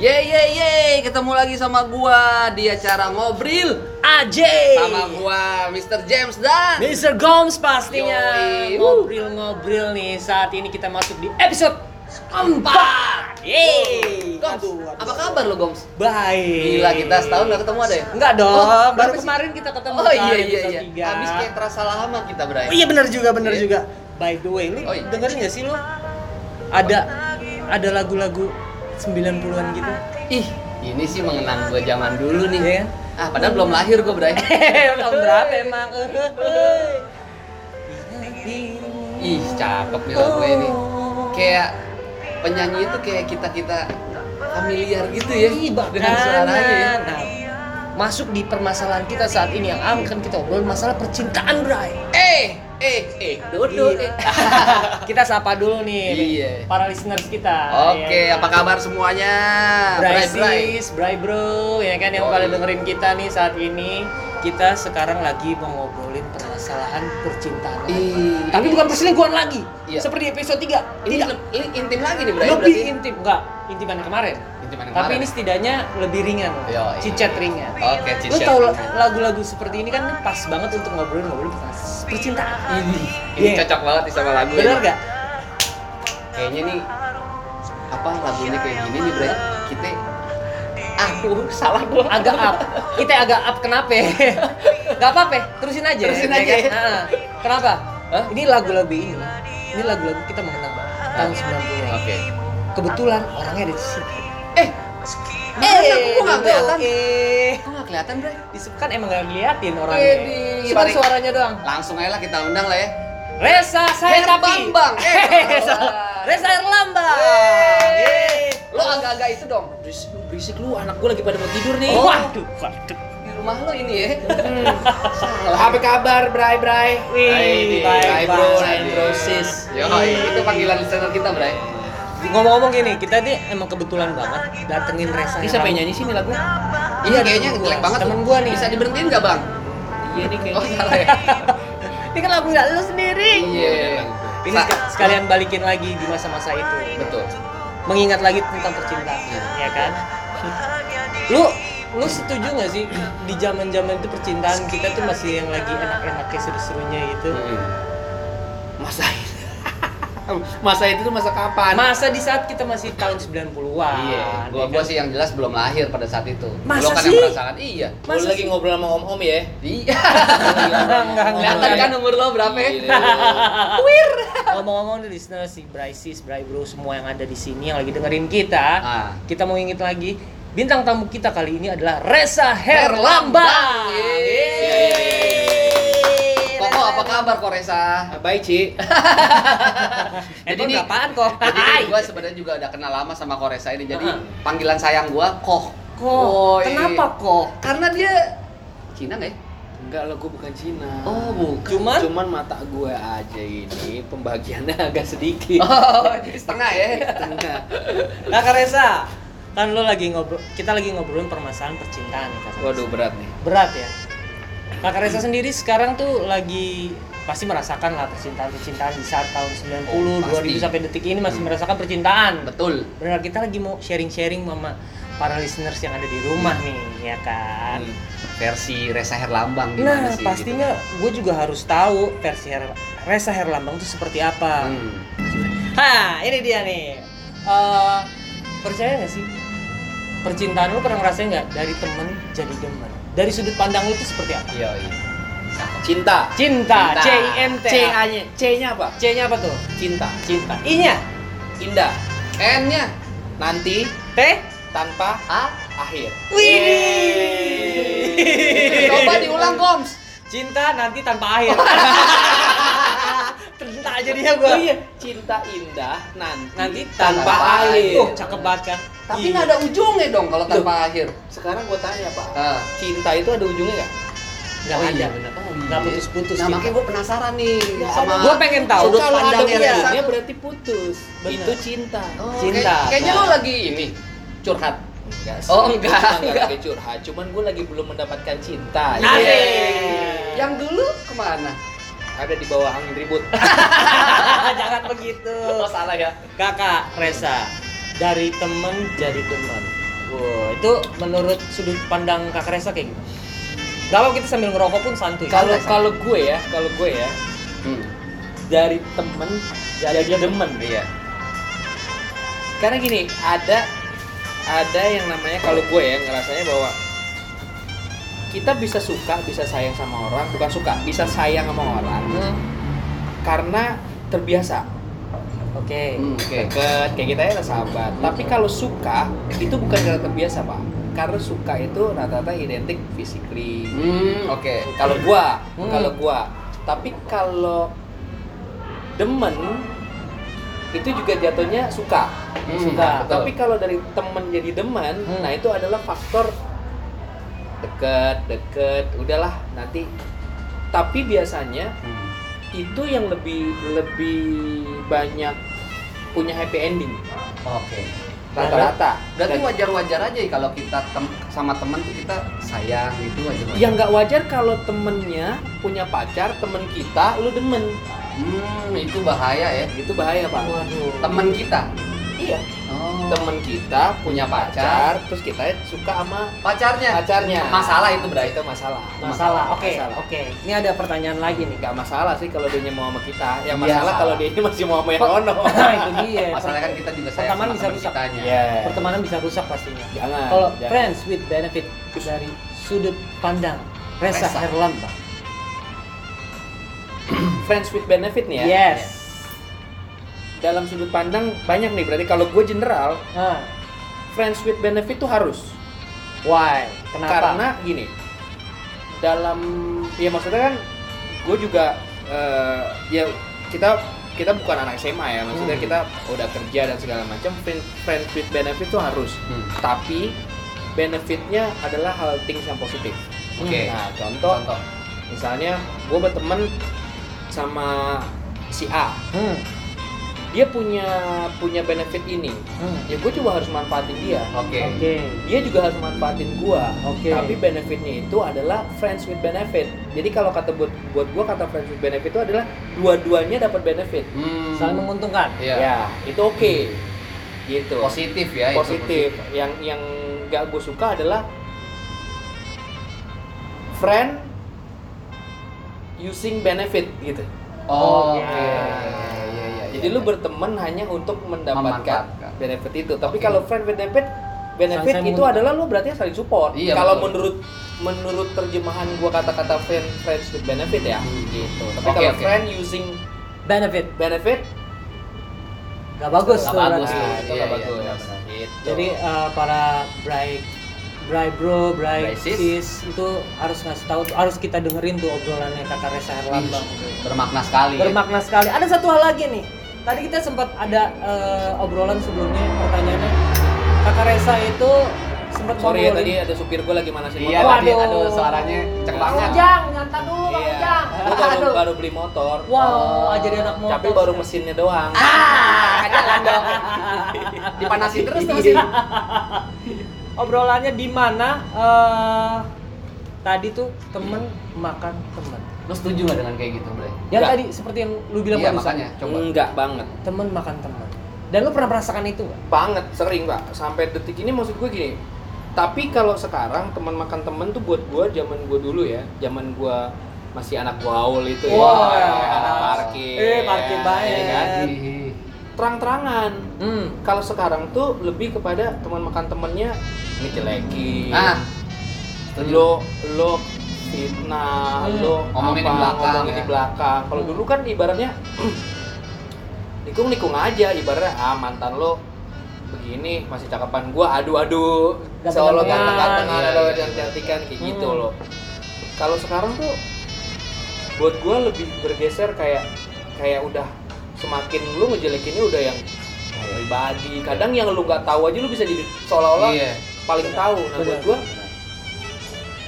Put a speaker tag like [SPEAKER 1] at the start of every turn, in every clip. [SPEAKER 1] Ye ye ye, ketemu lagi sama gua di acara ngobrol
[SPEAKER 2] AJ
[SPEAKER 1] sama gua Mr. James dan
[SPEAKER 2] Mr. Gomes pastinya
[SPEAKER 1] Yoi.
[SPEAKER 2] ngobrol-ngobrol nih saat ini kita masuk di episode keempat yeay
[SPEAKER 1] Goms.
[SPEAKER 2] Aduh, aduh.
[SPEAKER 1] Apa kabar lo Goms?
[SPEAKER 2] baik
[SPEAKER 1] Gila kita setahun gak ketemu ada ya?
[SPEAKER 2] enggak dong
[SPEAKER 1] Oh,
[SPEAKER 2] baru
[SPEAKER 1] berapa sih?
[SPEAKER 2] kemarin kita ketemu
[SPEAKER 1] Oh iya
[SPEAKER 2] kan,
[SPEAKER 1] iya
[SPEAKER 2] episode
[SPEAKER 1] iya.
[SPEAKER 2] tiga.
[SPEAKER 1] Habis kayak terasa lama kita Bray.
[SPEAKER 2] Oh iya benar juga benar
[SPEAKER 1] Iya.
[SPEAKER 2] juga. By the way, lu
[SPEAKER 1] Oh iya.
[SPEAKER 2] dengerin gak sih lu? Ada ada lagu-lagu 90-an gitu.
[SPEAKER 1] Ih, ini sih mengenang gua zaman dulu nih.
[SPEAKER 2] Iya.
[SPEAKER 1] Ah, padahal belum lahir gua Bray.
[SPEAKER 2] Tahun berapa emang?
[SPEAKER 1] Ih, cakep nih lagu ini.
[SPEAKER 2] Oh.
[SPEAKER 1] Kayak penyanyi itu kayak kita-kita familiar gitu ya dengan suaranya ya.
[SPEAKER 2] Nah, masuk di permasalahan kita saat ini yang akan kita obrol masalah percintaan, Bray.
[SPEAKER 1] Eh, eh, eh, dodo, eh.
[SPEAKER 2] kita sapa dulu nih
[SPEAKER 1] Iya.
[SPEAKER 2] para listeners kita.
[SPEAKER 1] Oke,
[SPEAKER 2] ya.
[SPEAKER 1] apa kabar semuanya?
[SPEAKER 2] Bray
[SPEAKER 1] Bray.
[SPEAKER 2] sis, Bray bro, ya kan yang
[SPEAKER 1] Yoi.
[SPEAKER 2] pada dengerin kita nih saat ini kita sekarang lagi mau ngobrolin permasalahan percintaan.
[SPEAKER 1] Ih,
[SPEAKER 2] Tapi
[SPEAKER 1] ini-
[SPEAKER 2] bukan perselingkuhan lagi.
[SPEAKER 1] Iya.
[SPEAKER 2] Seperti episode 3.
[SPEAKER 1] Ini,
[SPEAKER 2] Tidak.
[SPEAKER 1] ini intim lagi nih, Bray.
[SPEAKER 2] lebih
[SPEAKER 1] berarti.
[SPEAKER 2] intim enggak? Intiman kemarin.
[SPEAKER 1] Intiman yang
[SPEAKER 2] Tapi
[SPEAKER 1] kemarin. iya.
[SPEAKER 2] ini setidaknya lebih ringan.
[SPEAKER 1] Yoi.
[SPEAKER 2] Cicet ringan.
[SPEAKER 1] Oke,
[SPEAKER 2] Lu
[SPEAKER 1] Cici.
[SPEAKER 2] tau lagu-lagu seperti ini kan pas banget untuk ngobrolin-ngobrolin tentang percintaan.
[SPEAKER 1] ini, ini
[SPEAKER 2] Iya.
[SPEAKER 1] cocok banget nih sama lagu.
[SPEAKER 2] Bener
[SPEAKER 1] ini.
[SPEAKER 2] gak?
[SPEAKER 1] Kayaknya nih apa lagunya kayak gini nih, Bray. Kita aku salah gua.
[SPEAKER 2] Agak up. Kita agak up kenapa? gak apa-apa, terusin aja.
[SPEAKER 1] Terusin
[SPEAKER 2] ya
[SPEAKER 1] aja.
[SPEAKER 2] kan? Nah, kenapa?
[SPEAKER 1] Hah?
[SPEAKER 2] Ini lagu-lagu ini. Ini lagu-lagu kita mengenang tahun 90
[SPEAKER 1] Oke.
[SPEAKER 2] Kebetulan orangnya ada di sini.
[SPEAKER 1] Eh, eh, aku nggak kelihatan.
[SPEAKER 2] Eh,
[SPEAKER 1] Kok nggak kelihatan, Bray?
[SPEAKER 2] Disebut kan emang gak ngeliatin orangnya.
[SPEAKER 1] Wedi,
[SPEAKER 2] Cuma
[SPEAKER 1] mari-
[SPEAKER 2] suaranya doang.
[SPEAKER 1] Langsung aja lah kita undang lah ya.
[SPEAKER 2] Reza saya
[SPEAKER 1] Her Bambang. Eh, salah.
[SPEAKER 2] Reza Herlambang.
[SPEAKER 1] Yeay.
[SPEAKER 2] Yeay.
[SPEAKER 1] Lo agak-agak itu dong. Berisik lu, berisik lu, anak gua lagi pada mau tidur nih.
[SPEAKER 2] Waduh, waduh.
[SPEAKER 1] Di rumah lo ini ya.
[SPEAKER 2] Hmm.
[SPEAKER 1] Salah.
[SPEAKER 3] Apa kabar, Bray Bray?
[SPEAKER 2] Wih,
[SPEAKER 1] Hai
[SPEAKER 2] baik
[SPEAKER 1] bro,
[SPEAKER 2] baik.
[SPEAKER 1] hai bro sis. Yo, itu panggilan listener kita, Bray.
[SPEAKER 2] Ngomong-ngomong gini, kita ini emang kebetulan banget datengin Reza.
[SPEAKER 1] Ini siapa
[SPEAKER 2] Herlambang.
[SPEAKER 1] yang nyanyi sih ini lagu? Iya, kayaknya
[SPEAKER 2] temen
[SPEAKER 1] jelek
[SPEAKER 2] gua.
[SPEAKER 1] banget.
[SPEAKER 2] Temen
[SPEAKER 1] tuh.
[SPEAKER 2] gua nih.
[SPEAKER 1] Bisa diberhentiin nggak, Bang?
[SPEAKER 2] Iya nih
[SPEAKER 1] Oh, salah ya.
[SPEAKER 2] Ini kan lagu nggak lu sendiri.
[SPEAKER 1] Iya.
[SPEAKER 2] Ini
[SPEAKER 1] Sa-
[SPEAKER 2] sek- sekalian balikin lagi di masa-masa itu.
[SPEAKER 1] Betul.
[SPEAKER 2] Mengingat lagi tentang percintaan,
[SPEAKER 1] Iya.
[SPEAKER 2] ya kan? Lu lu setuju nggak sih di zaman-zaman itu percintaan kita tuh masih yang lagi enak-enaknya seru-serunya gitu?
[SPEAKER 3] Masa Masa itu tuh masa kapan?
[SPEAKER 2] Masa di saat kita masih tahun 90-an.
[SPEAKER 1] Iya, gua
[SPEAKER 2] ya
[SPEAKER 1] gua
[SPEAKER 2] kan?
[SPEAKER 1] sih yang jelas belum lahir pada saat itu.
[SPEAKER 2] Masa
[SPEAKER 1] Lo kan yang
[SPEAKER 2] sih?
[SPEAKER 1] merasakan. Iya.
[SPEAKER 3] Lu
[SPEAKER 2] Masa
[SPEAKER 3] lagi
[SPEAKER 2] sih?
[SPEAKER 3] ngobrol sama om-om ya?
[SPEAKER 1] Iya.
[SPEAKER 2] Enggak, enggak,
[SPEAKER 1] Kelihatan kan umur lo berapa ya?
[SPEAKER 2] Iya.
[SPEAKER 3] Gila.
[SPEAKER 4] Iya.
[SPEAKER 2] Ngomong-ngomong di listener si Brysis, Bry Bro, semua yang ada di sini yang lagi dengerin kita,
[SPEAKER 1] Ah.
[SPEAKER 2] kita mau inget lagi bintang tamu kita kali ini adalah Reza
[SPEAKER 1] Herlambang.
[SPEAKER 2] Herlambang.
[SPEAKER 1] Yeay.
[SPEAKER 2] Yeay.
[SPEAKER 1] Koko, apa kabar
[SPEAKER 4] Ah,
[SPEAKER 1] Koresa?
[SPEAKER 3] Baik, Ci.
[SPEAKER 2] Eh,
[SPEAKER 1] Jadi
[SPEAKER 2] Jadi
[SPEAKER 1] ini-
[SPEAKER 2] apaan kok?
[SPEAKER 1] Jadi gue sebenarnya juga udah kenal lama sama Koresa ini. Jadi
[SPEAKER 2] Uh-huh.
[SPEAKER 1] panggilan sayang gua Koh.
[SPEAKER 2] Kok?
[SPEAKER 1] Woi.
[SPEAKER 2] Kenapa kok?
[SPEAKER 1] Karena dia Cina nggak ya?
[SPEAKER 3] Enggak lah, gua bukan Cina.
[SPEAKER 1] Oh, bukan.
[SPEAKER 2] Cuman
[SPEAKER 3] Cuman mata gue aja ini pembagiannya agak sedikit.
[SPEAKER 1] Oh, jadi setengah ya.
[SPEAKER 3] Tengah.
[SPEAKER 2] Nah, Kak Reza, kan lo lagi ngobrol, kita lagi ngobrolin permasalahan percintaan nih, Kak Reza.
[SPEAKER 3] Waduh, berat nih.
[SPEAKER 2] berat ya. Kakak Reza sendiri sekarang tuh lagi pasti merasakan lah percintaan-percintaan di saat tahun 90,
[SPEAKER 1] Oh, pasti. Hmm.
[SPEAKER 2] 2000 sampai detik ini masih merasakan percintaan.
[SPEAKER 1] Betul.
[SPEAKER 2] Benar kita lagi mau sharing-sharing sama para listeners yang ada di rumah nih, ya kan.
[SPEAKER 1] Hmm, Versi Resa Herlambang gimana sih?
[SPEAKER 2] Nah,
[SPEAKER 4] gitu?
[SPEAKER 1] gitu kan?
[SPEAKER 2] pastinya gue juga harus tahu versi Her Reza Herlambang tuh seperti
[SPEAKER 1] gitu.
[SPEAKER 2] apa.
[SPEAKER 1] Hmm.
[SPEAKER 2] Ha, ini dia nih. Eh, percaya nggak sih? Percintaan lu pernah ngerasain nggak dari temen jadi demen? Dari sudut pandang lu tuh seperti apa?
[SPEAKER 1] Iya, iya.
[SPEAKER 3] Cinta.
[SPEAKER 2] Cinta,
[SPEAKER 1] Cinta.
[SPEAKER 2] C I N T. A.
[SPEAKER 3] C-nya, C-nya apa?
[SPEAKER 2] C-nya apa tuh?
[SPEAKER 3] Cinta.
[SPEAKER 2] Cinta. I-nya
[SPEAKER 3] Indah.
[SPEAKER 1] N-nya
[SPEAKER 3] Nanti
[SPEAKER 2] T.
[SPEAKER 3] tanpa
[SPEAKER 1] A.
[SPEAKER 3] akhir.
[SPEAKER 2] Widih.
[SPEAKER 1] Coba diulang, Koms.
[SPEAKER 2] Cinta nanti tanpa akhir. Cinta jadinya gua.
[SPEAKER 3] Iya, cinta indah nanti,
[SPEAKER 2] Oh Nanti
[SPEAKER 3] tanpa,
[SPEAKER 1] tanpa
[SPEAKER 3] air.
[SPEAKER 1] air.
[SPEAKER 2] Oh, cakep banget kan?
[SPEAKER 1] Tapi nggak ada ujungnya dong kalau tanpa akhir.
[SPEAKER 3] Sekarang gua tanya, Pak.
[SPEAKER 1] Ah.
[SPEAKER 3] Cinta itu ada ujungnya nggak?
[SPEAKER 2] Enggak
[SPEAKER 1] Oh,
[SPEAKER 2] ada.
[SPEAKER 1] iya, bener. Oh,
[SPEAKER 2] Nggak
[SPEAKER 1] iya.
[SPEAKER 2] putus-putus
[SPEAKER 1] Nah,
[SPEAKER 2] cinta.
[SPEAKER 1] makanya gue penasaran nih sama
[SPEAKER 2] Gua pengen tahu.
[SPEAKER 1] sudut
[SPEAKER 3] Kalau ada
[SPEAKER 1] pandangnya
[SPEAKER 2] iya.
[SPEAKER 1] Resa.
[SPEAKER 3] ujungnya berarti putus.
[SPEAKER 2] Bener.
[SPEAKER 3] Itu cinta.
[SPEAKER 1] Oh,
[SPEAKER 2] Cinta.
[SPEAKER 1] kayak- kayaknya lo lagi ini curhat.
[SPEAKER 3] Enggak sih.
[SPEAKER 1] Oh,
[SPEAKER 3] Gua
[SPEAKER 1] enggak,
[SPEAKER 3] cuma
[SPEAKER 1] enggak.
[SPEAKER 3] lagi curhat, cuman gua lagi belum mendapatkan cinta. Iya.
[SPEAKER 2] Nah, Asik.
[SPEAKER 1] Yang dulu kemana?
[SPEAKER 3] Ada di bawah angin ribut.
[SPEAKER 2] Jangan begitu.
[SPEAKER 1] salah ya.
[SPEAKER 2] Kakak Reza dari temen jadi teman. Wow, itu menurut sudut pandang Kak Resa kayak gitu. Gak apa kita sambil ngerokok pun santuy.
[SPEAKER 4] Kalau
[SPEAKER 2] Santai.
[SPEAKER 4] kalau gue ya, kalau gue ya
[SPEAKER 1] Hmm,
[SPEAKER 4] dari temen jadi demen
[SPEAKER 1] iya.
[SPEAKER 4] karena gini ada ada yang namanya kalau gue ya ngerasanya bahwa kita bisa suka bisa sayang sama orang bukan suka bisa sayang sama orang
[SPEAKER 2] Hmm,
[SPEAKER 4] karena terbiasa
[SPEAKER 2] Oke.
[SPEAKER 1] Hmm, Oke.
[SPEAKER 4] deket kayak kita ya sahabat tapi kalau suka itu bukan karena terbiasa pak karena suka itu rata-rata identik physically
[SPEAKER 1] Hmm, oke.
[SPEAKER 4] kalau gua
[SPEAKER 2] Hmm.
[SPEAKER 4] kalau gua tapi kalau demen itu juga jatuhnya suka
[SPEAKER 1] Hmm,
[SPEAKER 4] suka
[SPEAKER 1] betul.
[SPEAKER 4] tapi kalau dari temen jadi demen
[SPEAKER 2] Hmm.
[SPEAKER 4] nah itu adalah faktor deket deket udahlah nanti tapi biasanya itu yang lebih lebih banyak punya happy ending
[SPEAKER 1] Hmm, Oke.
[SPEAKER 4] rata-rata
[SPEAKER 1] Berarti
[SPEAKER 4] Dan-
[SPEAKER 1] wajar-wajar aja ya kalau kita tem- sama teman tuh kita sayang itu wajar.
[SPEAKER 4] yang nggak wajar kalau temennya punya pacar temen kita lu demen
[SPEAKER 1] Hmm, itu bahaya ya.
[SPEAKER 4] itu bahaya pak
[SPEAKER 2] Waduh.
[SPEAKER 1] Teman kita.
[SPEAKER 4] iya
[SPEAKER 1] Oh.
[SPEAKER 4] temen kita punya pacar terus kita suka sama
[SPEAKER 1] Pacarnya.
[SPEAKER 4] pacarnya
[SPEAKER 1] Masalah itu berarti.
[SPEAKER 4] itu masalah
[SPEAKER 2] Masalah. Oke.
[SPEAKER 4] Masalah.
[SPEAKER 2] Oke. Ini ada pertanyaan lagi nih.
[SPEAKER 4] nggak masalah sih kalau dia mau sama kita yang
[SPEAKER 1] Iya,
[SPEAKER 4] masalah
[SPEAKER 1] salah.
[SPEAKER 4] kalau dia masih mau sama yang ono
[SPEAKER 2] Nah, itu dia.
[SPEAKER 1] Masalahnya kan kita juga sayang
[SPEAKER 2] Pertemanan
[SPEAKER 1] sama
[SPEAKER 2] bisa
[SPEAKER 1] teman
[SPEAKER 2] rusak.
[SPEAKER 1] kitanya.
[SPEAKER 4] Iya.
[SPEAKER 2] Pertemanan bisa rusak pastinya.
[SPEAKER 4] jangan
[SPEAKER 2] Kalau
[SPEAKER 4] jangan.
[SPEAKER 2] friends with benefit dari sudut pandang Resa,
[SPEAKER 1] Resa.
[SPEAKER 2] Herlambang.
[SPEAKER 4] friends with benefit nih ya
[SPEAKER 2] Yes.
[SPEAKER 4] dalam sudut pandang banyak nih berarti kalau gue general
[SPEAKER 2] Ah,
[SPEAKER 4] friends with benefit tuh harus
[SPEAKER 2] why? Kenapa?
[SPEAKER 4] karena gini dalam ya maksudnya kan gue juga eh, ya kita kita bukan anak SMA ya maksudnya
[SPEAKER 1] Hmm.
[SPEAKER 4] kita udah kerja dan segala macam friend- friends with benefit tuh harus
[SPEAKER 1] Hmm.
[SPEAKER 4] tapi benefitnya adalah hal things yang positif
[SPEAKER 1] Oke.
[SPEAKER 4] nah contoh,
[SPEAKER 1] Contoh.
[SPEAKER 4] misalnya gue berteman sama si A
[SPEAKER 2] Hmm,
[SPEAKER 4] dia punya punya benefit ini
[SPEAKER 2] hmm.
[SPEAKER 4] ya gue juga harus manfaatin dia
[SPEAKER 1] Oke.
[SPEAKER 2] Oke.
[SPEAKER 4] dia juga harus manfaatin gua.
[SPEAKER 2] Oke.
[SPEAKER 4] Tapi benefitnya itu adalah friends with benefit. Jadi kalau kata buat buat gua kata friends with benefit itu adalah dua-duanya dapat benefit.
[SPEAKER 1] Hmm.
[SPEAKER 2] Saling menguntungkan.
[SPEAKER 1] Iya.
[SPEAKER 4] Ya, itu oke. Gitu.
[SPEAKER 1] Positif ya. itu
[SPEAKER 4] Positif. Yang yang gak gue suka adalah friend using benefit gitu.
[SPEAKER 1] Oh, Oke.
[SPEAKER 2] Oke.
[SPEAKER 1] Iya, iya,
[SPEAKER 4] Jadi
[SPEAKER 1] iya,
[SPEAKER 4] lu
[SPEAKER 1] iya.
[SPEAKER 4] berteman hanya untuk mendapatkan
[SPEAKER 1] Memanfaatkan.
[SPEAKER 4] benefit itu. Tapi
[SPEAKER 1] Oke.
[SPEAKER 4] kalau friend benefit benefit
[SPEAKER 2] Saling
[SPEAKER 4] itu
[SPEAKER 2] menguntungkan.
[SPEAKER 4] adalah lu berarti saling support.
[SPEAKER 1] Iya,
[SPEAKER 4] kalau
[SPEAKER 1] betul.
[SPEAKER 4] menurut menurut terjemahan gua kata-kata friend friends with benefit ya.
[SPEAKER 1] Hmm.
[SPEAKER 4] Gitu. Tapi
[SPEAKER 1] Oke,
[SPEAKER 4] kalau
[SPEAKER 1] oke.
[SPEAKER 4] friend using
[SPEAKER 2] Benefit.
[SPEAKER 4] benefit
[SPEAKER 2] Gak bagus.
[SPEAKER 1] Nggak
[SPEAKER 2] tuh
[SPEAKER 1] bagus tuh.
[SPEAKER 2] berarti.
[SPEAKER 4] nah, itu
[SPEAKER 1] Iya,
[SPEAKER 4] nggak
[SPEAKER 1] iya,
[SPEAKER 4] bagus.
[SPEAKER 1] benar-benar.
[SPEAKER 4] Gitu.
[SPEAKER 2] Jadi eh, para bright Bray bro,
[SPEAKER 1] Bray
[SPEAKER 2] bray
[SPEAKER 1] sis.
[SPEAKER 2] sis itu harus ngasih tahu, harus kita dengerin tuh obrolannya kakak Resa Herlambang. Iya.
[SPEAKER 1] Bermakna sekali. ya.
[SPEAKER 2] bermakna sekali. Ada satu hal lagi nih. Tadi kita sempat ada eh, obrolan sebelumnya pertanyaannya Kakak Resa itu sempat
[SPEAKER 4] Sorry ya
[SPEAKER 2] ngobrolin-
[SPEAKER 4] tadi ada supir gua lagi manasin
[SPEAKER 1] Iya,
[SPEAKER 4] motor.
[SPEAKER 1] tadi aduh, suaranya kenceng
[SPEAKER 4] Bang
[SPEAKER 1] banget.
[SPEAKER 2] Ujang, nyantar dulu Bang
[SPEAKER 4] Iya.
[SPEAKER 2] Ujang.
[SPEAKER 4] Gua baru
[SPEAKER 2] Aduh.
[SPEAKER 4] baru beli motor.
[SPEAKER 2] Wow,
[SPEAKER 1] Oh.
[SPEAKER 2] jadi anak motor.
[SPEAKER 4] Tapi baru mesinnya doang.
[SPEAKER 1] Ah, jalan dong. Dipanasin
[SPEAKER 4] Iya.
[SPEAKER 1] terus tuh sih.
[SPEAKER 2] Obrolannya di mana eh, tadi tuh temen makan temen.
[SPEAKER 1] Lu setuju nggak dengan kayak gitu, Bre?
[SPEAKER 2] Yang
[SPEAKER 4] Enggak.
[SPEAKER 2] tadi seperti yang lu bilang
[SPEAKER 1] Iya,
[SPEAKER 2] barusan.
[SPEAKER 1] makanya coba.
[SPEAKER 4] Enggak banget.
[SPEAKER 2] Temen makan temen. Dan lu pernah merasakan itu nggak?
[SPEAKER 4] banget sering pak sampai detik ini maksud gue gini tapi kalau sekarang teman makan temen tuh buat gue zaman gue dulu ya zaman gue masih anak gaul itu ya
[SPEAKER 2] Wah.
[SPEAKER 4] anak parkir
[SPEAKER 2] Eh, parkir banget.
[SPEAKER 4] ya kan? terang-terangan
[SPEAKER 2] Hmm.
[SPEAKER 4] kalau sekarang tuh lebih kepada teman makan temennya ini jelekin
[SPEAKER 1] Nah,
[SPEAKER 2] Ah.
[SPEAKER 1] setuju.
[SPEAKER 4] lo lo fitnah
[SPEAKER 2] Hmm.
[SPEAKER 4] lo
[SPEAKER 1] Ngomongin di
[SPEAKER 4] apa,
[SPEAKER 1] belakang,
[SPEAKER 4] ngomongin di
[SPEAKER 1] ya.
[SPEAKER 4] belakang. kalau dulu kan ibaratnya nikung nikung aja ibaratnya ah mantan lo begini masih cakapan gua adu adu
[SPEAKER 2] Ganteng-gantengan.
[SPEAKER 4] selalu ganteng gantengan
[SPEAKER 1] Iya, iya,
[SPEAKER 4] lo cantik
[SPEAKER 1] iya.
[SPEAKER 4] cantikan kayak gitu
[SPEAKER 2] Hmm.
[SPEAKER 4] lo kalau sekarang tuh buat gua lebih bergeser kayak kayak udah semakin lu ngejelekinnya udah yang pribadi kadang yang lu nggak tahu aja lu bisa jadi seolah-olah
[SPEAKER 1] Iya.
[SPEAKER 4] paling tahu nah
[SPEAKER 2] Benar.
[SPEAKER 4] buat gua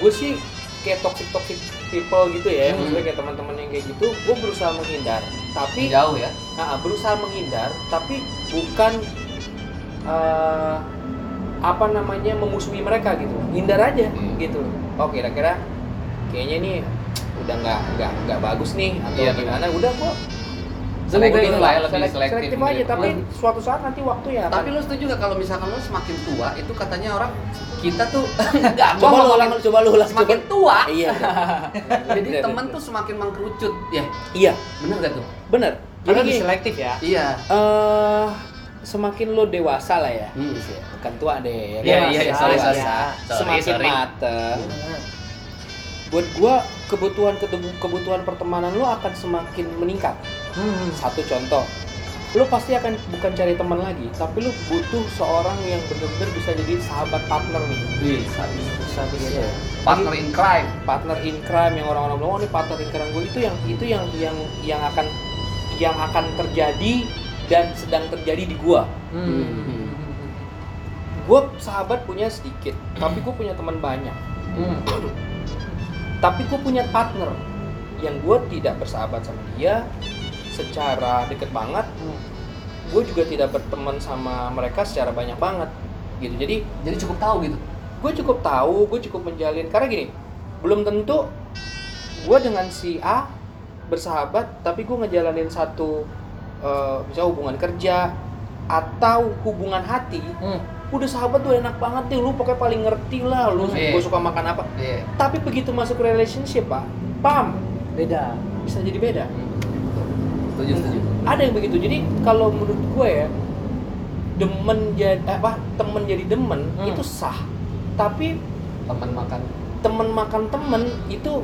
[SPEAKER 4] gue sih kayak toxic toxic people gitu ya
[SPEAKER 1] Hmm.
[SPEAKER 4] maksudnya kayak teman-teman yang kayak gitu gue berusaha menghindar tapi
[SPEAKER 1] Jauh ya.
[SPEAKER 4] ah, ah, berusaha menghindar tapi bukan eh, apa namanya memusuhi mereka gitu hindar aja
[SPEAKER 1] Hmm.
[SPEAKER 4] gitu oh kira-kira kayaknya nih udah nggak nggak nggak bagus nih atau
[SPEAKER 1] Iya,
[SPEAKER 4] gimana udah gue
[SPEAKER 1] Selektif
[SPEAKER 4] Lebih-
[SPEAKER 1] lah ya, lebih
[SPEAKER 4] selek-
[SPEAKER 1] selektif
[SPEAKER 4] selektif
[SPEAKER 1] milih
[SPEAKER 4] aja tapi
[SPEAKER 1] teman.
[SPEAKER 4] suatu saat nanti waktu ya
[SPEAKER 1] Tapi lu setuju nggak kalau misalkan lu semakin tua itu katanya orang kita tuh
[SPEAKER 4] enggak
[SPEAKER 1] Coba
[SPEAKER 4] coba
[SPEAKER 1] lu
[SPEAKER 4] lu ulang coba lu ulang
[SPEAKER 1] semakin
[SPEAKER 4] coba.
[SPEAKER 1] tua.
[SPEAKER 4] iya
[SPEAKER 1] Jadi temen tuh semakin mengkerucut ya.
[SPEAKER 4] iya
[SPEAKER 1] Bener gak tuh?
[SPEAKER 4] bener
[SPEAKER 2] Karena
[SPEAKER 4] jadi
[SPEAKER 2] lebih
[SPEAKER 4] gini,
[SPEAKER 2] selektif ya.
[SPEAKER 1] Iya.
[SPEAKER 4] eh, semakin lo dewasa lah ya
[SPEAKER 1] Hmm.
[SPEAKER 4] bukan tua deh ya
[SPEAKER 1] Iya,
[SPEAKER 4] kan?
[SPEAKER 1] iya, iya,
[SPEAKER 4] Dewasa,
[SPEAKER 1] sorry,
[SPEAKER 2] sorry.
[SPEAKER 1] Sorry,
[SPEAKER 4] semakin
[SPEAKER 1] sorry.
[SPEAKER 4] mateng buat gua kebutuhan kebutuhan pertemanan lo akan semakin meningkat
[SPEAKER 2] Hmm.
[SPEAKER 4] satu contoh lo pasti akan bukan cari teman lagi tapi lo butuh seorang yang bener-bener bisa jadi sahabat partner nih
[SPEAKER 1] Wih,
[SPEAKER 4] bisa bisa
[SPEAKER 2] Iya.
[SPEAKER 1] partner in crime.
[SPEAKER 4] partner in crime yang orang-orang bilang oh ini partner in crime gue itu yang itu yang yang yang akan yang akan terjadi dan sedang terjadi di gua
[SPEAKER 2] Hmm.
[SPEAKER 4] gua sahabat punya sedikit tapi gua punya teman banyak
[SPEAKER 2] Hmm.
[SPEAKER 4] tapi gua punya partner yang gua tidak bersahabat sama dia secara deket banget
[SPEAKER 2] Hmm.
[SPEAKER 4] gue juga tidak berteman sama mereka secara banyak banget gitu jadi
[SPEAKER 1] Jadi cukup tahu gitu.
[SPEAKER 4] gue cukup tahu gue cukup menjalin karena gini belum tentu gue dengan si A bersahabat tapi gue ngejalanin satu eh, misalnya hubungan kerja atau hubungan hati
[SPEAKER 2] Hmm.
[SPEAKER 4] udah sahabat tuh enak banget deh lu pokoknya paling ngerti lah lu
[SPEAKER 1] Iya.
[SPEAKER 4] gue suka makan apa
[SPEAKER 1] Iya.
[SPEAKER 4] tapi begitu masuk relationship pak pam
[SPEAKER 2] Beda.
[SPEAKER 4] bisa jadi beda
[SPEAKER 1] Setuju, setuju.
[SPEAKER 4] ada yang begitu jadi kalau menurut gue ya demen jadi apa temen jadi demen
[SPEAKER 2] Hmm.
[SPEAKER 4] itu sah tapi
[SPEAKER 1] Teman makan.
[SPEAKER 4] temen makan temen itu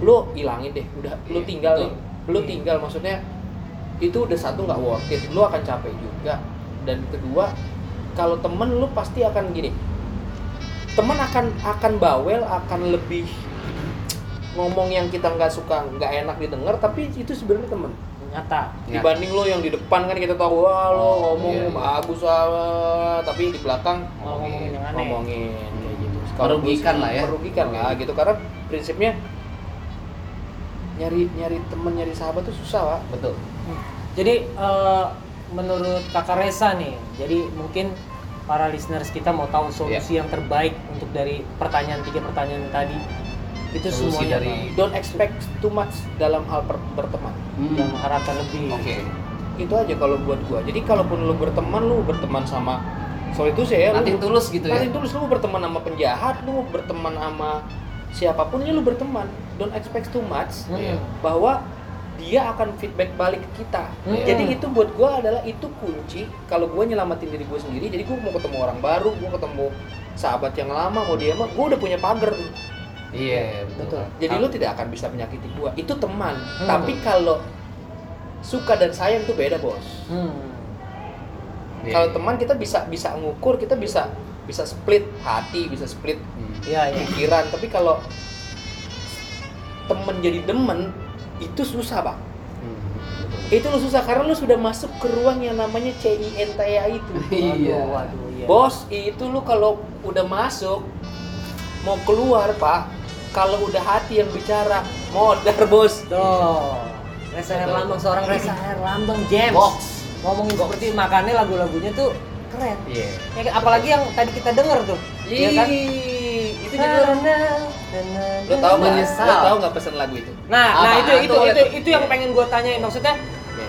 [SPEAKER 4] lo hilangin deh udah
[SPEAKER 1] Iya,
[SPEAKER 4] lo tinggal
[SPEAKER 1] betul.
[SPEAKER 4] nih lo
[SPEAKER 2] Iya.
[SPEAKER 4] tinggal maksudnya itu udah satu nggak worth it lo akan capek juga dan kedua kalau temen lo pasti akan gini temen akan akan bawel akan lebih ngomong yang kita nggak suka nggak enak didengar tapi itu sebenarnya temen
[SPEAKER 2] Nyata.
[SPEAKER 1] Iya.
[SPEAKER 4] dibanding lo yang di depan kan kita tahu wah lo
[SPEAKER 1] Oh,
[SPEAKER 4] ngomong
[SPEAKER 1] iya, iya.
[SPEAKER 4] bagus ah," tapi di belakang
[SPEAKER 2] Malah ngomongin yang aneh.
[SPEAKER 4] ngomongin kayak gitu.
[SPEAKER 1] Merugikan
[SPEAKER 4] gua sih
[SPEAKER 1] lah ya.
[SPEAKER 4] Merugikan lah gitu karena prinsipnya nyari nyari temen nyari sahabat tuh susah pak.
[SPEAKER 1] Betul.
[SPEAKER 2] Hmm. Jadi eh, menurut Kakak Resa nih, jadi mungkin para listeners kita mau tahu solusi yang terbaik untuk dari pertanyaan tiga pertanyaan tadi itu
[SPEAKER 1] Solusi
[SPEAKER 2] semuanya
[SPEAKER 1] dari
[SPEAKER 2] Bang.
[SPEAKER 4] Don't expect too much dalam hal per- berteman.
[SPEAKER 2] jangan mengharapkan lebih.
[SPEAKER 1] Hmm, Oke.
[SPEAKER 4] Itu aja kalau buat gua. Jadi kalaupun lu berteman lu berteman sama soal itu sih ya. lu
[SPEAKER 1] Nanti
[SPEAKER 4] ber-
[SPEAKER 1] tulus gitu ya.
[SPEAKER 4] Nanti terus lu berteman sama penjahat, lu berteman sama siapapun ya lu berteman. Don't expect too much
[SPEAKER 2] Hmm.
[SPEAKER 1] Iya.
[SPEAKER 4] bahwa dia akan feedback balik ke kita.
[SPEAKER 2] Hmm.
[SPEAKER 4] Jadi itu buat gua adalah itu kunci kalau gua nyelamatin diri gua sendiri. Jadi gua mau ketemu orang baru, gua ketemu sahabat yang lama mau dia mah gua udah punya pagar.
[SPEAKER 1] Iya, betul.
[SPEAKER 4] Jadi lu tidak akan bisa menyakiti gua. Itu teman.
[SPEAKER 1] Hmm.
[SPEAKER 4] Tapi kalau suka dan sayang tuh beda, Bos.
[SPEAKER 2] Hmm.
[SPEAKER 1] Iya.
[SPEAKER 4] Kalau teman kita bisa bisa ngukur, kita bisa bisa split hati, bisa split
[SPEAKER 1] Hmm.
[SPEAKER 2] Iya, iya.
[SPEAKER 4] pikiran tapi kalau temen jadi demen itu susah bang
[SPEAKER 1] Hmm.
[SPEAKER 4] itu lu susah karena lu sudah masuk ke ruang yang namanya CINTA itu
[SPEAKER 1] Iya.
[SPEAKER 2] Waduh, waduh, iya.
[SPEAKER 4] bos itu lu kalau udah masuk mau keluar pak kalau udah hati yang bicara modar bos
[SPEAKER 2] Tuh. Resa Herlambang seorang Resa Herlambang James.
[SPEAKER 1] Box.
[SPEAKER 2] Ngomongin seperti itu, makanya lagu-lagunya tuh keren.
[SPEAKER 1] Iya.
[SPEAKER 2] Ya, kan? apalagi yang tadi kita denger tuh. Iya kan?
[SPEAKER 1] Ih, itu jadi orang
[SPEAKER 2] Karena-
[SPEAKER 4] lu tahu nggak
[SPEAKER 1] Menyesal.
[SPEAKER 4] lu tahu nggak pesan lagu itu
[SPEAKER 2] Nah, nah
[SPEAKER 1] Apaan
[SPEAKER 2] itu itu
[SPEAKER 1] tuh?
[SPEAKER 2] itu itu yang pengen gue tanyain maksudnya.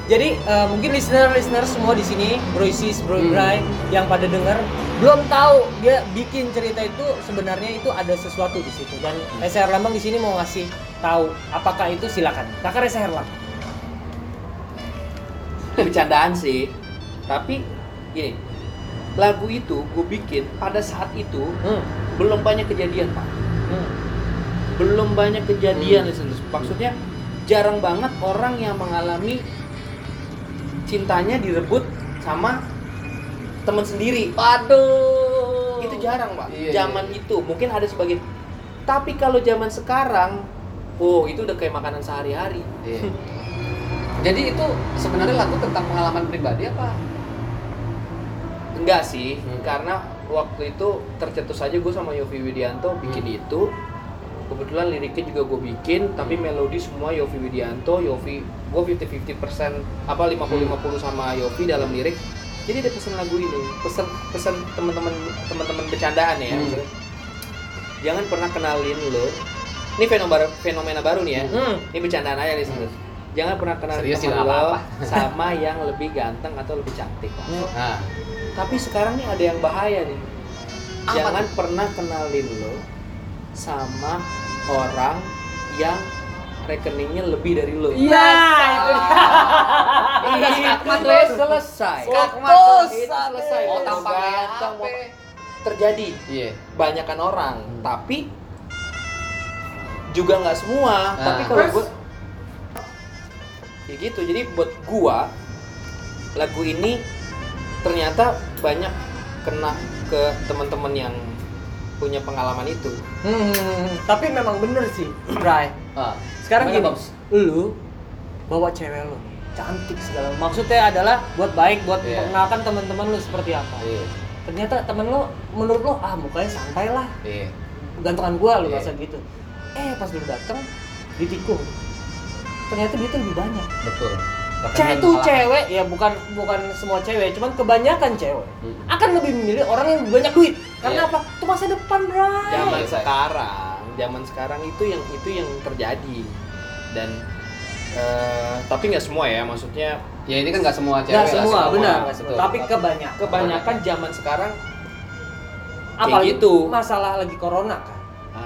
[SPEAKER 2] Jadi eh, mungkin listener-listener semua di sini, broisis, bro
[SPEAKER 1] Hmm.
[SPEAKER 2] Bray, yang pada denger belum tahu dia bikin cerita itu sebenarnya itu ada sesuatu di situ dan Reza Herlambang di sini mau ngasih tahu apakah itu silakan. Kakak Reza Herlambang.
[SPEAKER 4] bercandaan sih tapi gini lagu itu gue bikin pada saat itu
[SPEAKER 2] Hmm.
[SPEAKER 4] belum banyak kejadian pak
[SPEAKER 2] Hmm.
[SPEAKER 4] belum banyak
[SPEAKER 1] Hmm.
[SPEAKER 4] kejadian listeners. Maksudnya jarang banget orang yang mengalami cintanya direbut sama teman sendiri.
[SPEAKER 1] Waduh.
[SPEAKER 4] Itu jarang, Pak.
[SPEAKER 1] Iya,
[SPEAKER 4] zaman itu mungkin ada sebagian. Tapi kalau zaman sekarang, oh itu udah kayak makanan sehari-hari.
[SPEAKER 1] Iya. Jadi itu sebenarnya lagu tentang pengalaman pribadi apa?
[SPEAKER 4] Enggak sih,
[SPEAKER 1] Hmm.
[SPEAKER 4] karena waktu itu tercetus aja gue sama Yofi Widianto bikin
[SPEAKER 1] Hmm.
[SPEAKER 4] itu. Kebetulan liriknya juga gue bikin, tapi
[SPEAKER 1] Hmm.
[SPEAKER 4] melodi semua Yofi Widianto, Yofi gue 50-50 apa
[SPEAKER 1] Hmm.
[SPEAKER 4] 50-50 sama Yofi dalam lirik. Jadi ada pesan lagu ini, pesan pesan teman-teman teman-teman bercandaan ya.
[SPEAKER 1] Hmm.
[SPEAKER 4] maksudnya. Jangan pernah kenalin lo. Ini fenomena baru, fenomena baru nih ya.
[SPEAKER 2] Hmm.
[SPEAKER 4] Ini bercandaan aja nih sebenarnya. jangan pernah kenal
[SPEAKER 1] Hmm. Serius sih, nggak
[SPEAKER 4] teman lo
[SPEAKER 1] apa-apa.
[SPEAKER 4] sama yang lebih ganteng atau lebih cantik
[SPEAKER 2] Hmm.
[SPEAKER 1] Nah,
[SPEAKER 4] tapi sekarang nih ada yang bahaya nih
[SPEAKER 1] Apa
[SPEAKER 4] jangan pernah kenalin lo sama orang yang rekeningnya lebih dari lo
[SPEAKER 2] Iya,
[SPEAKER 1] Nah,
[SPEAKER 2] itu dia.
[SPEAKER 1] Iya, skakmat,
[SPEAKER 4] itu
[SPEAKER 1] Les.
[SPEAKER 4] selesai
[SPEAKER 1] Skakmat,
[SPEAKER 4] Putus,
[SPEAKER 1] Les.
[SPEAKER 4] itu selesai
[SPEAKER 2] Oh,
[SPEAKER 1] Mau
[SPEAKER 4] Mau
[SPEAKER 1] tampang
[SPEAKER 4] ganteng,
[SPEAKER 1] apa?
[SPEAKER 4] mau- terjadi
[SPEAKER 1] Iya.
[SPEAKER 4] banyakan orang
[SPEAKER 1] Hmm.
[SPEAKER 4] tapi juga nggak
[SPEAKER 1] Nah.
[SPEAKER 4] semua tapi kalau
[SPEAKER 2] Terus?
[SPEAKER 4] gue ya gitu jadi buat gua lagu ini ternyata banyak kena ke teman-teman yang punya pengalaman itu
[SPEAKER 2] Hmm, tapi memang bener sih, Bray.
[SPEAKER 1] Ah.
[SPEAKER 2] Sekarang
[SPEAKER 1] Gimana,
[SPEAKER 2] gini, lu bawa cewek lu cantik segala. Maksudnya adalah buat baik, buat
[SPEAKER 1] Iya.
[SPEAKER 2] memperkenalkan teman-teman lu seperti apa.
[SPEAKER 1] Iya.
[SPEAKER 2] Ternyata temen lu menurut lu ah mukanya santai lah,
[SPEAKER 1] Iya.
[SPEAKER 2] gantengan gua lu
[SPEAKER 1] Iya.
[SPEAKER 2] rasa gitu. Eh pas lu dateng ditikung. Ternyata dia tuh lebih banyak.
[SPEAKER 1] Betul.
[SPEAKER 2] Cewek tuh cewek ya bukan bukan semua cewek, cuman kebanyakan cewek
[SPEAKER 1] Hmm.
[SPEAKER 2] akan lebih memilih orang yang banyak duit.
[SPEAKER 1] Iya.
[SPEAKER 2] Karena apa? Itu masa depan, Bray.
[SPEAKER 4] zaman
[SPEAKER 1] Iya, Pak.
[SPEAKER 4] sekarang zaman sekarang itu yang itu yang terjadi dan eh, tapi nggak semua ya maksudnya
[SPEAKER 1] Ya ini kan nggak semua cewek.
[SPEAKER 2] Gak semua, benar. nggak
[SPEAKER 1] Betul.
[SPEAKER 2] semua. Tapi kebanyakan.
[SPEAKER 4] kebanyakan zaman sekarang
[SPEAKER 2] Apalagi
[SPEAKER 4] gitu.
[SPEAKER 2] masalah lagi corona kan.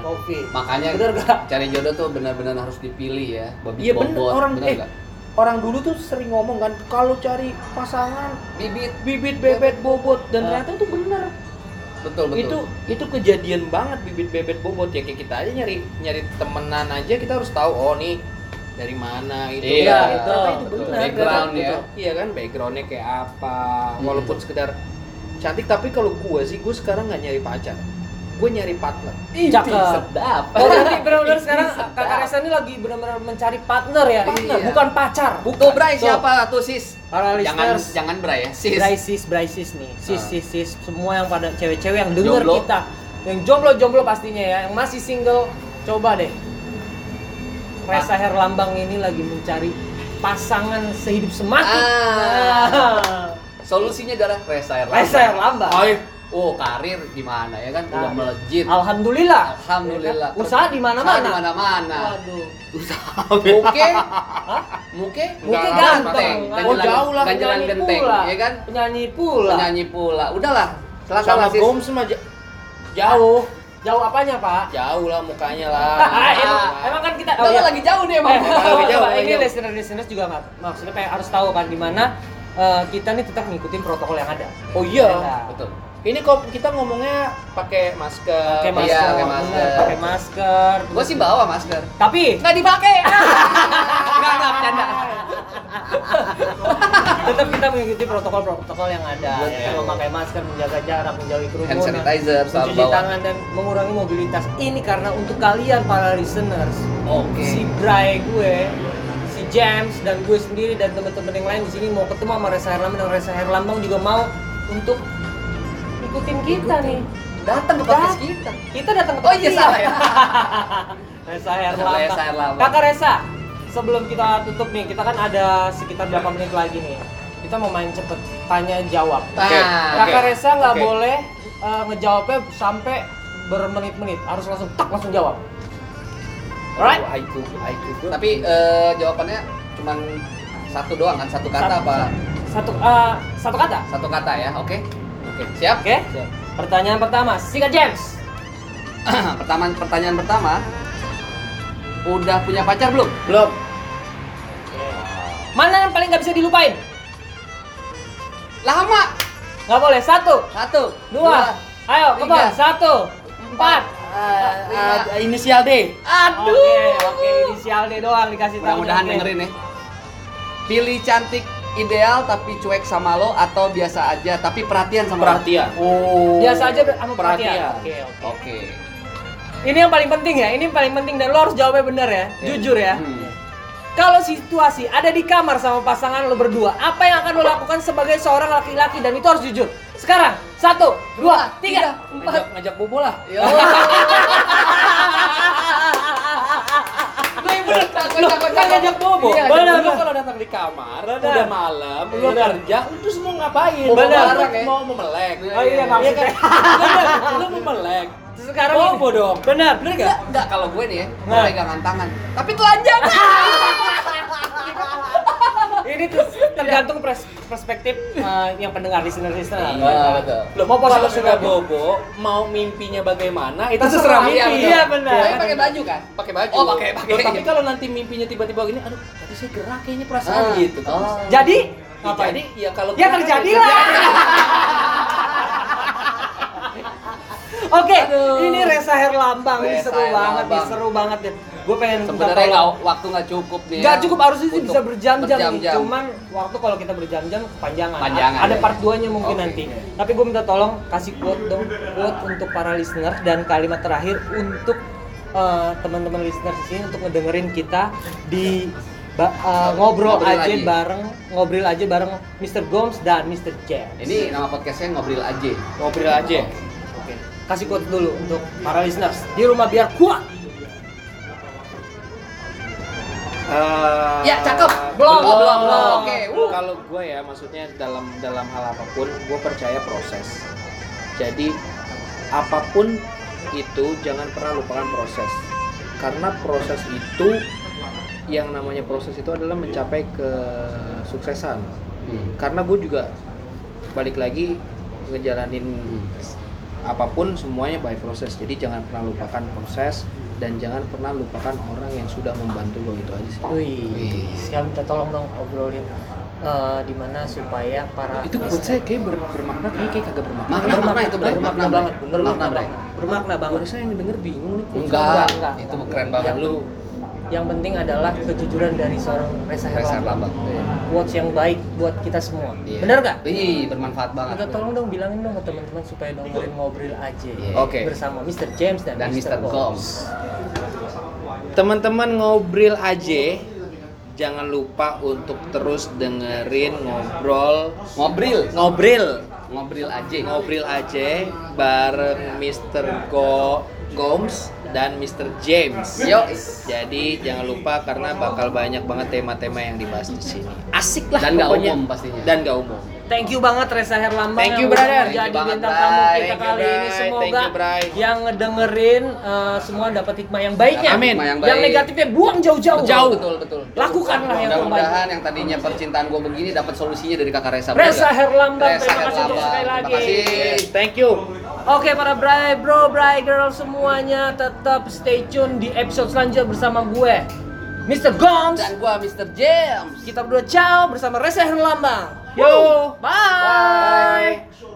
[SPEAKER 2] Covid.
[SPEAKER 1] Makanya
[SPEAKER 2] Bener gak?
[SPEAKER 1] cari jodoh tuh benar-benar harus dipilih ya. Babi
[SPEAKER 4] Iya, bener.
[SPEAKER 1] bobot,
[SPEAKER 4] Orang-
[SPEAKER 1] bener
[SPEAKER 4] eh,
[SPEAKER 1] nggak?
[SPEAKER 4] orang dulu tuh sering ngomong kan kalau cari pasangan
[SPEAKER 1] Bibit.
[SPEAKER 4] bibit bebet bobot dan
[SPEAKER 2] Ah.
[SPEAKER 4] ternyata itu benar
[SPEAKER 1] Nah. Betul betul.
[SPEAKER 4] itu itu kejadian banget bibit bebet bobot ya kayak kita aja nyari nyari temenan aja kita harus tahu oh nih dari mana itu
[SPEAKER 1] Iya,
[SPEAKER 4] Ternyata
[SPEAKER 2] betul,
[SPEAKER 4] itu
[SPEAKER 1] betul.
[SPEAKER 4] benar
[SPEAKER 1] Background
[SPEAKER 4] ternyata-
[SPEAKER 1] ya.
[SPEAKER 4] iya kan backgroundnya kayak apa
[SPEAKER 1] Hmm.
[SPEAKER 4] walaupun sekedar cantik tapi kalau gue sih gue sekarang nggak nyari pacar gue nyari partner
[SPEAKER 2] Cakep.
[SPEAKER 1] sedap.
[SPEAKER 2] Oh berarti benar-benar sekarang
[SPEAKER 1] sedap.
[SPEAKER 2] kakak Resa ini lagi benar-benar mencari partner ya?
[SPEAKER 1] Iya. Partner.
[SPEAKER 2] Bukan pacar.
[SPEAKER 1] Tuh Bray
[SPEAKER 2] Tuh.
[SPEAKER 1] siapa tuh sis?
[SPEAKER 2] Para
[SPEAKER 1] Jangan
[SPEAKER 2] listeners,
[SPEAKER 1] jangan Bray ya sis.
[SPEAKER 2] Bray sis, Bray sis nih.
[SPEAKER 1] Ah.
[SPEAKER 2] Sis, sis, sis. Semua yang pada cewek-cewek yang denger
[SPEAKER 1] Jomblo.
[SPEAKER 2] kita. Yang jomblo-jomblo pastinya ya. Yang masih single, coba deh. Resa
[SPEAKER 1] Ah.
[SPEAKER 2] Herlambang ini lagi mencari pasangan sehidup semati.
[SPEAKER 1] Ah.
[SPEAKER 2] Ah.
[SPEAKER 1] Solusinya adalah Resa Erlambang.
[SPEAKER 2] Resa Herlambang.
[SPEAKER 1] Oh, iya. Oh, karir gimana ya kan udah
[SPEAKER 2] Karir.
[SPEAKER 1] melejit.
[SPEAKER 2] Alhamdulillah.
[SPEAKER 1] Alhamdulillah.
[SPEAKER 2] Usaha di
[SPEAKER 1] Usaha di
[SPEAKER 2] mana-mana.
[SPEAKER 1] mana-mana.
[SPEAKER 2] Waduh.
[SPEAKER 1] Usaha. Oke.
[SPEAKER 2] Hah?
[SPEAKER 1] Muke,
[SPEAKER 4] Enggak
[SPEAKER 1] muke
[SPEAKER 4] lah,
[SPEAKER 1] ganteng,
[SPEAKER 2] ganteng.
[SPEAKER 1] eh. ganjelan,
[SPEAKER 4] Oh, jauh lah,
[SPEAKER 1] ganjelan
[SPEAKER 2] penyanyi
[SPEAKER 1] genteng,
[SPEAKER 2] pula.
[SPEAKER 1] ya kan?
[SPEAKER 2] Penyanyi pula.
[SPEAKER 1] Penyanyi pula. Udahlah, silakan
[SPEAKER 4] sama
[SPEAKER 1] lah sis.
[SPEAKER 4] Gomes sama ja- jauh
[SPEAKER 2] Jauh apanya, Pak?
[SPEAKER 4] jauh lah mukanya lah
[SPEAKER 2] Ah, emang, emang kan kita
[SPEAKER 1] Udahlah,
[SPEAKER 2] iya.
[SPEAKER 1] lagi jauh nih emang.
[SPEAKER 2] Eh,
[SPEAKER 4] Lagi jauh,
[SPEAKER 2] Pak,
[SPEAKER 4] lagi
[SPEAKER 2] ini
[SPEAKER 4] jauh.
[SPEAKER 2] listener listeners juga nggak maksudnya kayak harus tahu kan gimana eh, kita nih tetap ngikutin protokol yang ada.
[SPEAKER 4] oh iya
[SPEAKER 2] Nah,
[SPEAKER 1] Betul.
[SPEAKER 4] ini kok kita ngomongnya pakai masker
[SPEAKER 2] Pakai
[SPEAKER 1] Iya,
[SPEAKER 2] masker,
[SPEAKER 1] pakai
[SPEAKER 2] bener,
[SPEAKER 1] masker.
[SPEAKER 2] pakai masker.
[SPEAKER 1] Gua sih bawa masker.
[SPEAKER 2] Tapi
[SPEAKER 1] Nggak dipakai. Nggak, nggak, bercanda.
[SPEAKER 2] tetap kita mengikuti protokol-protokol yang ada.
[SPEAKER 1] Betul.
[SPEAKER 2] Ya, kan? memakai masker, menjaga jarak, menjauhi
[SPEAKER 1] Iya, Hand
[SPEAKER 2] kerumunan.
[SPEAKER 1] sanitizer selalu
[SPEAKER 2] mencuci
[SPEAKER 1] bawa.
[SPEAKER 2] tangan dan mengurangi mobilitas ini karena untuk kalian para listeners
[SPEAKER 4] Oh,
[SPEAKER 1] Oke.
[SPEAKER 2] si Bray gue si James dan gue sendiri dan teman-teman yang lain di sini mau ketemu sama Resa Herlambang dan Resa Herlambang juga mau untuk ikutin kita nih
[SPEAKER 1] Datang ke podcast kita.
[SPEAKER 2] kita datang ke
[SPEAKER 1] Oh iya
[SPEAKER 2] dia.
[SPEAKER 1] salah ya.
[SPEAKER 2] Resa Herlambang
[SPEAKER 1] Resa Herlambang.
[SPEAKER 2] kakak Resa sebelum kita tutup nih kita kan ada sekitar berapa menit lagi nih kita mau main cepet tanya jawab
[SPEAKER 4] Oke.
[SPEAKER 1] Nah,
[SPEAKER 2] Kakak
[SPEAKER 4] Oke.
[SPEAKER 2] Reza nggak
[SPEAKER 4] Oke.
[SPEAKER 2] boleh eh, ngejawabnya sampai bermenit-menit, harus langsung tak langsung jawab. Alright?
[SPEAKER 4] Oh, haiku, haiku gua.
[SPEAKER 1] tapi eh, jawabannya cuman satu doang kan satu kata
[SPEAKER 2] Satu-
[SPEAKER 1] apa
[SPEAKER 2] Satu eh, satu kata.
[SPEAKER 1] satu kata ya oke
[SPEAKER 4] Oke.
[SPEAKER 1] siap
[SPEAKER 2] Oke. Pertanyaan pertama, sikat James.
[SPEAKER 1] pertama pertanyaan pertama udah punya pacar belum
[SPEAKER 4] Belum.
[SPEAKER 2] Mana yang paling nggak bisa dilupain?
[SPEAKER 1] lama
[SPEAKER 2] Nggak boleh. Satu,
[SPEAKER 1] satu
[SPEAKER 2] dua, ayo
[SPEAKER 1] tiga,
[SPEAKER 2] kebon. Satu, empat.
[SPEAKER 1] lima.
[SPEAKER 4] Ah, inisial D.
[SPEAKER 1] aduh
[SPEAKER 2] Oke, oke. Inisial D doang dikasih tahu.
[SPEAKER 1] mudah-mudahan
[SPEAKER 2] Oke.
[SPEAKER 1] dengerin ya pilih cantik ideal tapi cuek sama lo atau biasa aja tapi perhatian sama lo?
[SPEAKER 4] Perhatian.
[SPEAKER 1] oh
[SPEAKER 2] Biasa aja sama perhatian.
[SPEAKER 4] Perhatian.
[SPEAKER 2] Oke, oke.
[SPEAKER 1] oke
[SPEAKER 2] Ini yang paling penting ya. Ini yang paling penting dan lo harus jawabnya bener ya. Jujur ya.
[SPEAKER 1] Hmm.
[SPEAKER 2] Kalau situasi ada di kamar sama pasangan lo berdua, apa yang akan lo lakukan sebagai seorang laki-laki dan itu harus jujur. Sekarang, satu, dua, tiga,
[SPEAKER 4] Ngajak
[SPEAKER 2] empat. Iya.
[SPEAKER 4] ngajak bobo lah.
[SPEAKER 1] Yo. Lu yang bener, cakep,
[SPEAKER 2] Loh,
[SPEAKER 1] cakep,
[SPEAKER 2] kan
[SPEAKER 1] cakep.
[SPEAKER 2] ngajak bobo.
[SPEAKER 1] Iya,
[SPEAKER 2] Bener,
[SPEAKER 1] ngajak
[SPEAKER 4] Lu
[SPEAKER 2] bener.
[SPEAKER 4] kalau datang di kamar,
[SPEAKER 2] Bener.
[SPEAKER 4] udah malam, lu
[SPEAKER 2] Bener.
[SPEAKER 4] kerja, lu terus mau ngapain?
[SPEAKER 1] Bobo
[SPEAKER 4] Mau-
[SPEAKER 1] bareng ya?
[SPEAKER 4] Mau memelek.
[SPEAKER 2] Oh iya,
[SPEAKER 4] Iya
[SPEAKER 2] maksudnya.
[SPEAKER 4] kan? Bener, Lu memelek.
[SPEAKER 2] Terus Sekarang
[SPEAKER 4] Bobo dong.
[SPEAKER 2] Benar, benar
[SPEAKER 1] Enggak,
[SPEAKER 2] gak?
[SPEAKER 1] enggak kalau gue nih ya, gue
[SPEAKER 2] Nah.
[SPEAKER 1] pegangan tangan. Tapi telanjang.
[SPEAKER 2] ini ter- tergantung pers- perspektif eh, yang pendengar listener listener.
[SPEAKER 1] Iya, betul.
[SPEAKER 4] Loh,
[SPEAKER 2] mau
[SPEAKER 4] mau
[SPEAKER 2] positif
[SPEAKER 4] kalau sudah
[SPEAKER 2] negatif.
[SPEAKER 4] bobo, mau mimpinya bagaimana, itu
[SPEAKER 2] Terserah
[SPEAKER 4] terserah
[SPEAKER 2] mimpi.
[SPEAKER 4] mimpi.
[SPEAKER 2] Iya, benar.
[SPEAKER 1] Tapi pakai baju kan?
[SPEAKER 4] Pakai baju.
[SPEAKER 1] Oh, pakai- pakai.
[SPEAKER 4] Loh, tapi kalau nanti mimpinya tiba-tiba gini, aduh, tadi saya gerak kayaknya perasaan
[SPEAKER 1] Ah,
[SPEAKER 4] gitu. kan.
[SPEAKER 1] oh.
[SPEAKER 2] Jadi
[SPEAKER 4] Ya,
[SPEAKER 2] apa
[SPEAKER 4] Jadi, ya kalau
[SPEAKER 2] Ya terjadilah. Oke,
[SPEAKER 1] Aduh.
[SPEAKER 2] ini Resa Herlambang, ini
[SPEAKER 1] Resa
[SPEAKER 2] seru banget, nih,
[SPEAKER 1] Herlambang.
[SPEAKER 2] seru banget deh. Gue pengen minta
[SPEAKER 1] Sebenarnya
[SPEAKER 2] tolong.
[SPEAKER 1] nggak waktu nggak cukup nih.
[SPEAKER 2] Gak
[SPEAKER 1] ya,
[SPEAKER 2] cukup harusnya sih
[SPEAKER 1] untuk
[SPEAKER 2] bisa berjam-jam, nih.
[SPEAKER 1] berjam-jam.
[SPEAKER 2] Cuman waktu kalau kita berjam-jam kepanjangan.
[SPEAKER 1] Panjangan,
[SPEAKER 2] Ada
[SPEAKER 1] ya.
[SPEAKER 2] part 2-nya mungkin
[SPEAKER 1] Oke.
[SPEAKER 2] nanti. Tapi gue minta tolong kasih quote dong, quote untuk para listener dan kalimat terakhir untuk eh, teman-teman listener di sini untuk ngedengerin kita di ba- eh, ngobrol,
[SPEAKER 1] Ngobrol
[SPEAKER 2] aja
[SPEAKER 1] lagi.
[SPEAKER 2] bareng ngobrol aja bareng Mr. Gomes dan Mr. James.
[SPEAKER 1] Ini nama podcastnya ngobrol aja.
[SPEAKER 4] ngobrol aja.
[SPEAKER 2] Oke. Kasih quote dulu untuk para listeners di rumah biar kuat.
[SPEAKER 4] Eh,
[SPEAKER 1] Ya, cakep. Belum, belum, belum. Oke, uh.
[SPEAKER 4] Kalau gue ya, maksudnya dalam dalam hal apapun, gue percaya proses. Jadi apapun itu jangan pernah lupakan proses. Karena proses itu yang namanya proses itu adalah mencapai kesuksesan.
[SPEAKER 1] Hmm.
[SPEAKER 4] Karena gue juga balik lagi ngejalanin apapun semuanya by proses jadi jangan pernah lupakan proses dan jangan pernah lupakan orang yang sudah membantu lo itu aja sih
[SPEAKER 2] Wih, sekarang minta tolong dong obrolin eh, di mana supaya para
[SPEAKER 4] itu buat saya kayak ber- bermakna kayak kayak kagak bermakna
[SPEAKER 1] Makna, makna itu Bray.
[SPEAKER 2] bermakna
[SPEAKER 1] Makna,
[SPEAKER 2] banget,
[SPEAKER 1] Bray.
[SPEAKER 2] bener
[SPEAKER 1] Makna,
[SPEAKER 2] makna
[SPEAKER 1] Bray.
[SPEAKER 2] banget. Bermakna banget.
[SPEAKER 4] baru saya yang denger bingung nih
[SPEAKER 1] Enggak,
[SPEAKER 2] Enggak,
[SPEAKER 1] itu keren banget.
[SPEAKER 4] yang lu
[SPEAKER 2] Yang penting adalah kejujuran dari seorang Reza
[SPEAKER 1] Resa
[SPEAKER 2] Herlambang.
[SPEAKER 1] Lambang.
[SPEAKER 2] Quotes yang baik buat kita semua.
[SPEAKER 1] Iya.
[SPEAKER 2] Bener gak?
[SPEAKER 1] Ih, bermanfaat banget.
[SPEAKER 2] Minta tolong dong bilangin dong ke teman-teman supaya dengerin ngobrol aja
[SPEAKER 1] Iya.
[SPEAKER 4] Oke.
[SPEAKER 2] bersama Mr. James dan,
[SPEAKER 1] Dan Mr. Gomes.
[SPEAKER 4] teman-teman ngobrol aja jangan lupa untuk terus dengerin ngobrol
[SPEAKER 1] Ngobrol,
[SPEAKER 4] ngobrol
[SPEAKER 1] ngobrol aja.
[SPEAKER 4] ngobrol aja bareng Mr. Go Gomes dan Mr. James.
[SPEAKER 1] Yo.
[SPEAKER 4] Jadi jangan lupa karena bakal banyak banget tema-tema yang dibahas di sini. Asik lah
[SPEAKER 1] Dan nggak
[SPEAKER 4] pokoknya.
[SPEAKER 1] umum pastinya.
[SPEAKER 4] Dan gak umum.
[SPEAKER 2] Thank you banget Reza Herlambang
[SPEAKER 4] Thank
[SPEAKER 2] yang
[SPEAKER 4] you,
[SPEAKER 2] udah
[SPEAKER 4] brother.
[SPEAKER 2] menjadi
[SPEAKER 1] Thank you banget,
[SPEAKER 2] bintang tamu
[SPEAKER 1] Bray.
[SPEAKER 2] kita
[SPEAKER 4] Thank you,
[SPEAKER 2] kali ini.
[SPEAKER 4] Bray.
[SPEAKER 2] Semoga
[SPEAKER 4] Thank you, Bray.
[SPEAKER 2] yang ngedengerin eh, semua dapat hikmah yang baiknya.
[SPEAKER 1] Dapat hikmah yang baik.
[SPEAKER 2] Yang negatifnya buang jauh-jauh.
[SPEAKER 1] Jauh, betul, betul.
[SPEAKER 2] Lakukanlah yang
[SPEAKER 1] Mudah-mudahan yang tadinya percintaan gue begini dapat solusinya dari kakak Resa. bener
[SPEAKER 2] Reza
[SPEAKER 1] nggak?
[SPEAKER 2] Herlambang,
[SPEAKER 1] Resa
[SPEAKER 2] terima kasih untuk
[SPEAKER 1] Herlambang,
[SPEAKER 2] sekali lagi.
[SPEAKER 1] Terima kasih.
[SPEAKER 4] Thank you.
[SPEAKER 2] Oke para bray bro, bray girl semuanya tetap stay tune di episode selanjutnya bersama gue. Mr. Gomes,
[SPEAKER 1] Dan gue Mr. James.
[SPEAKER 2] kita berdua ciao bersama Reza Herlambang.
[SPEAKER 4] Yo.
[SPEAKER 2] Bye.
[SPEAKER 1] Bye.